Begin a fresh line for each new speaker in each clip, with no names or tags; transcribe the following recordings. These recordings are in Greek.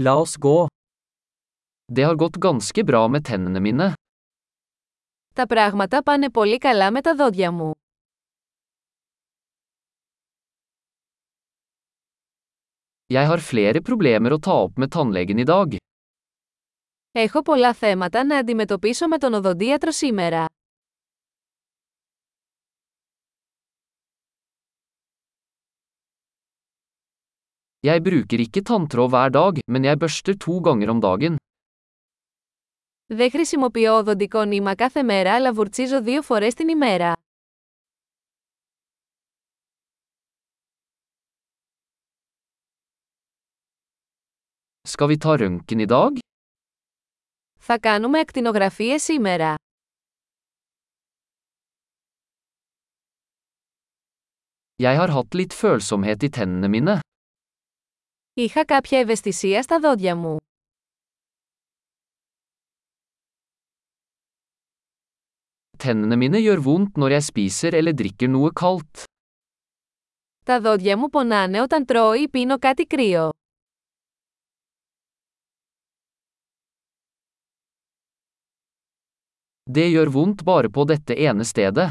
La oss gå.
Det har gått ganske bra med tennene mine.
Τα πράγματα πάνε πολύ καλά με τα δόντια μου.
Jeg har flere problemer å ta opp med tannlegen i dag.
Έχω πολλά θέματα να αντιμετωπίσω με τον οδοντίατρο σήμερα.
Jeg bruker ikke tanntråd hver dag, men jeg børster to ganger om dagen.
Δεν χρησιμοποιώ οδοντικό νήμα κάθε μέρα αλλά βουρτσίζω δύο φορές την ημέρα.
Skal vi ta røntgen i dag?
Θα κάνουμε ακτινογραφίες σήμερα.
Jeg har hatt litt følsomhet i tennene mine.
Είχα κάποια ευαισθησία στα δόντια μου.
Tennene mine gjør vondt når jeg spiser eller drikker noe kaldt.
Τα δόντια μου πονάνε όταν τρώω ή πίνω κάτι κρύο.
Det gjør vondt bare på dette ene stedet.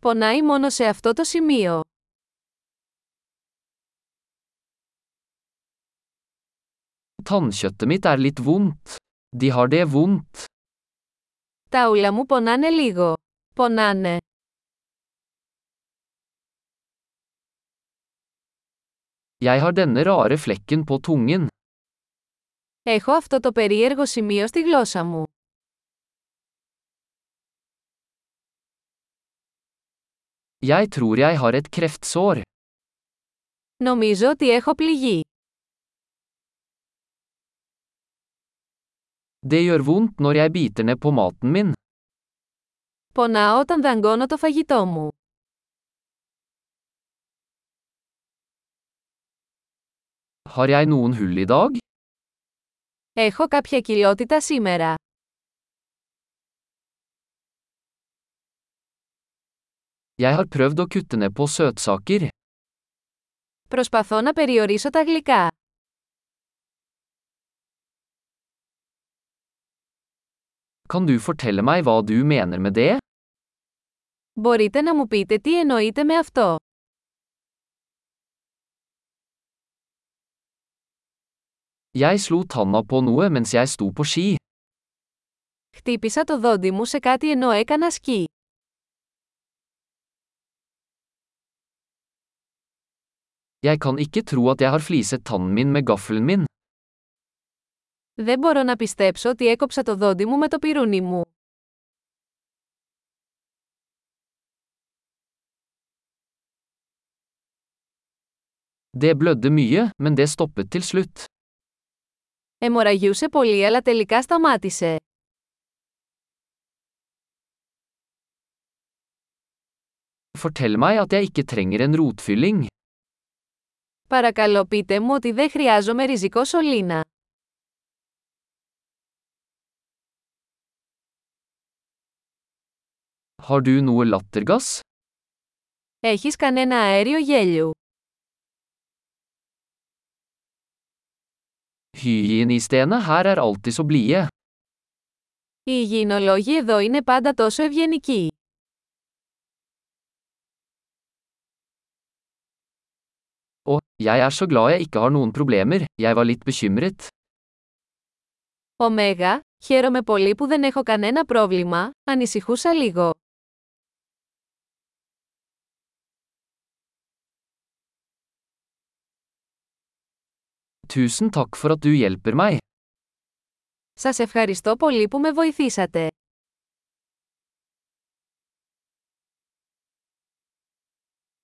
Πονάει μόνο σε αυτό το σημείο.
Tannkjøttet mitt er litt vondt. De har det vondt.
Τα ούλα μου πονάνε λίγο. Πονάνε.
Jeg har denne rare flekken på tungen.
Έχω αυτό το περίεργο σημείο στη γλώσσα μου.
Jeg tror jeg har et kreftsår.
Νομίζω ότι έχω πληγεί.
Det gjør vondt når jeg biter ned på maten min.
Πονάω όταν δαγκώνω το φαγητό μου.
Har jeg noen hull i dag?
Έχω κάποια κοιλιότητα σήμερα.
Jeg har prøvd å kutte ned på søtsaker.
Προσπαθώ να περιορίσω τα γλυκά.
Kan du fortelle meg hva du mener med det?
Μπορείτε να μου πείτε τι εννοείτε με αυτό.
Jeg slo tanna på noe mens jeg sto på ski.
Χτύπησα το δόντι μου σε κάτι ενώ έκανα σκι.
Jeg kan ikke tro at jeg har fliset tannen min med gaffelen min.
Δεν μπορώ να πιστέψω ότι έκοψα το δόντι μου με το πυρούνι μου.
Det blødde mye, men det stoppet til slutt.
Εμοραγιούσε πολύ αλλά τελικά σταμάτησε.
Fortell meg at jeg ikke trenger en rotfylling.
Παρακαλώ πείτε μου ότι δεν χρειάζομαι ριζικό σωλήνα.
Har du noe lattergass?
Έχεις κανένα αέριο γέλιου.
Hygienistene her er alltid så blide.
Οι υγιεινολόγοι εδώ είναι πάντα τόσο ευγενικοί.
Og, jeg er så glad jeg ikke har noen problemer, jeg var litt bekymret.
Ωμέγα, χαίρομαι πολύ που δεν έχω κανένα πρόβλημα, ανησυχούσα λίγο.
Tusen takk for at du hjelper meg.
Σας ευχαριστώ πολύ που με βοηθήσατε.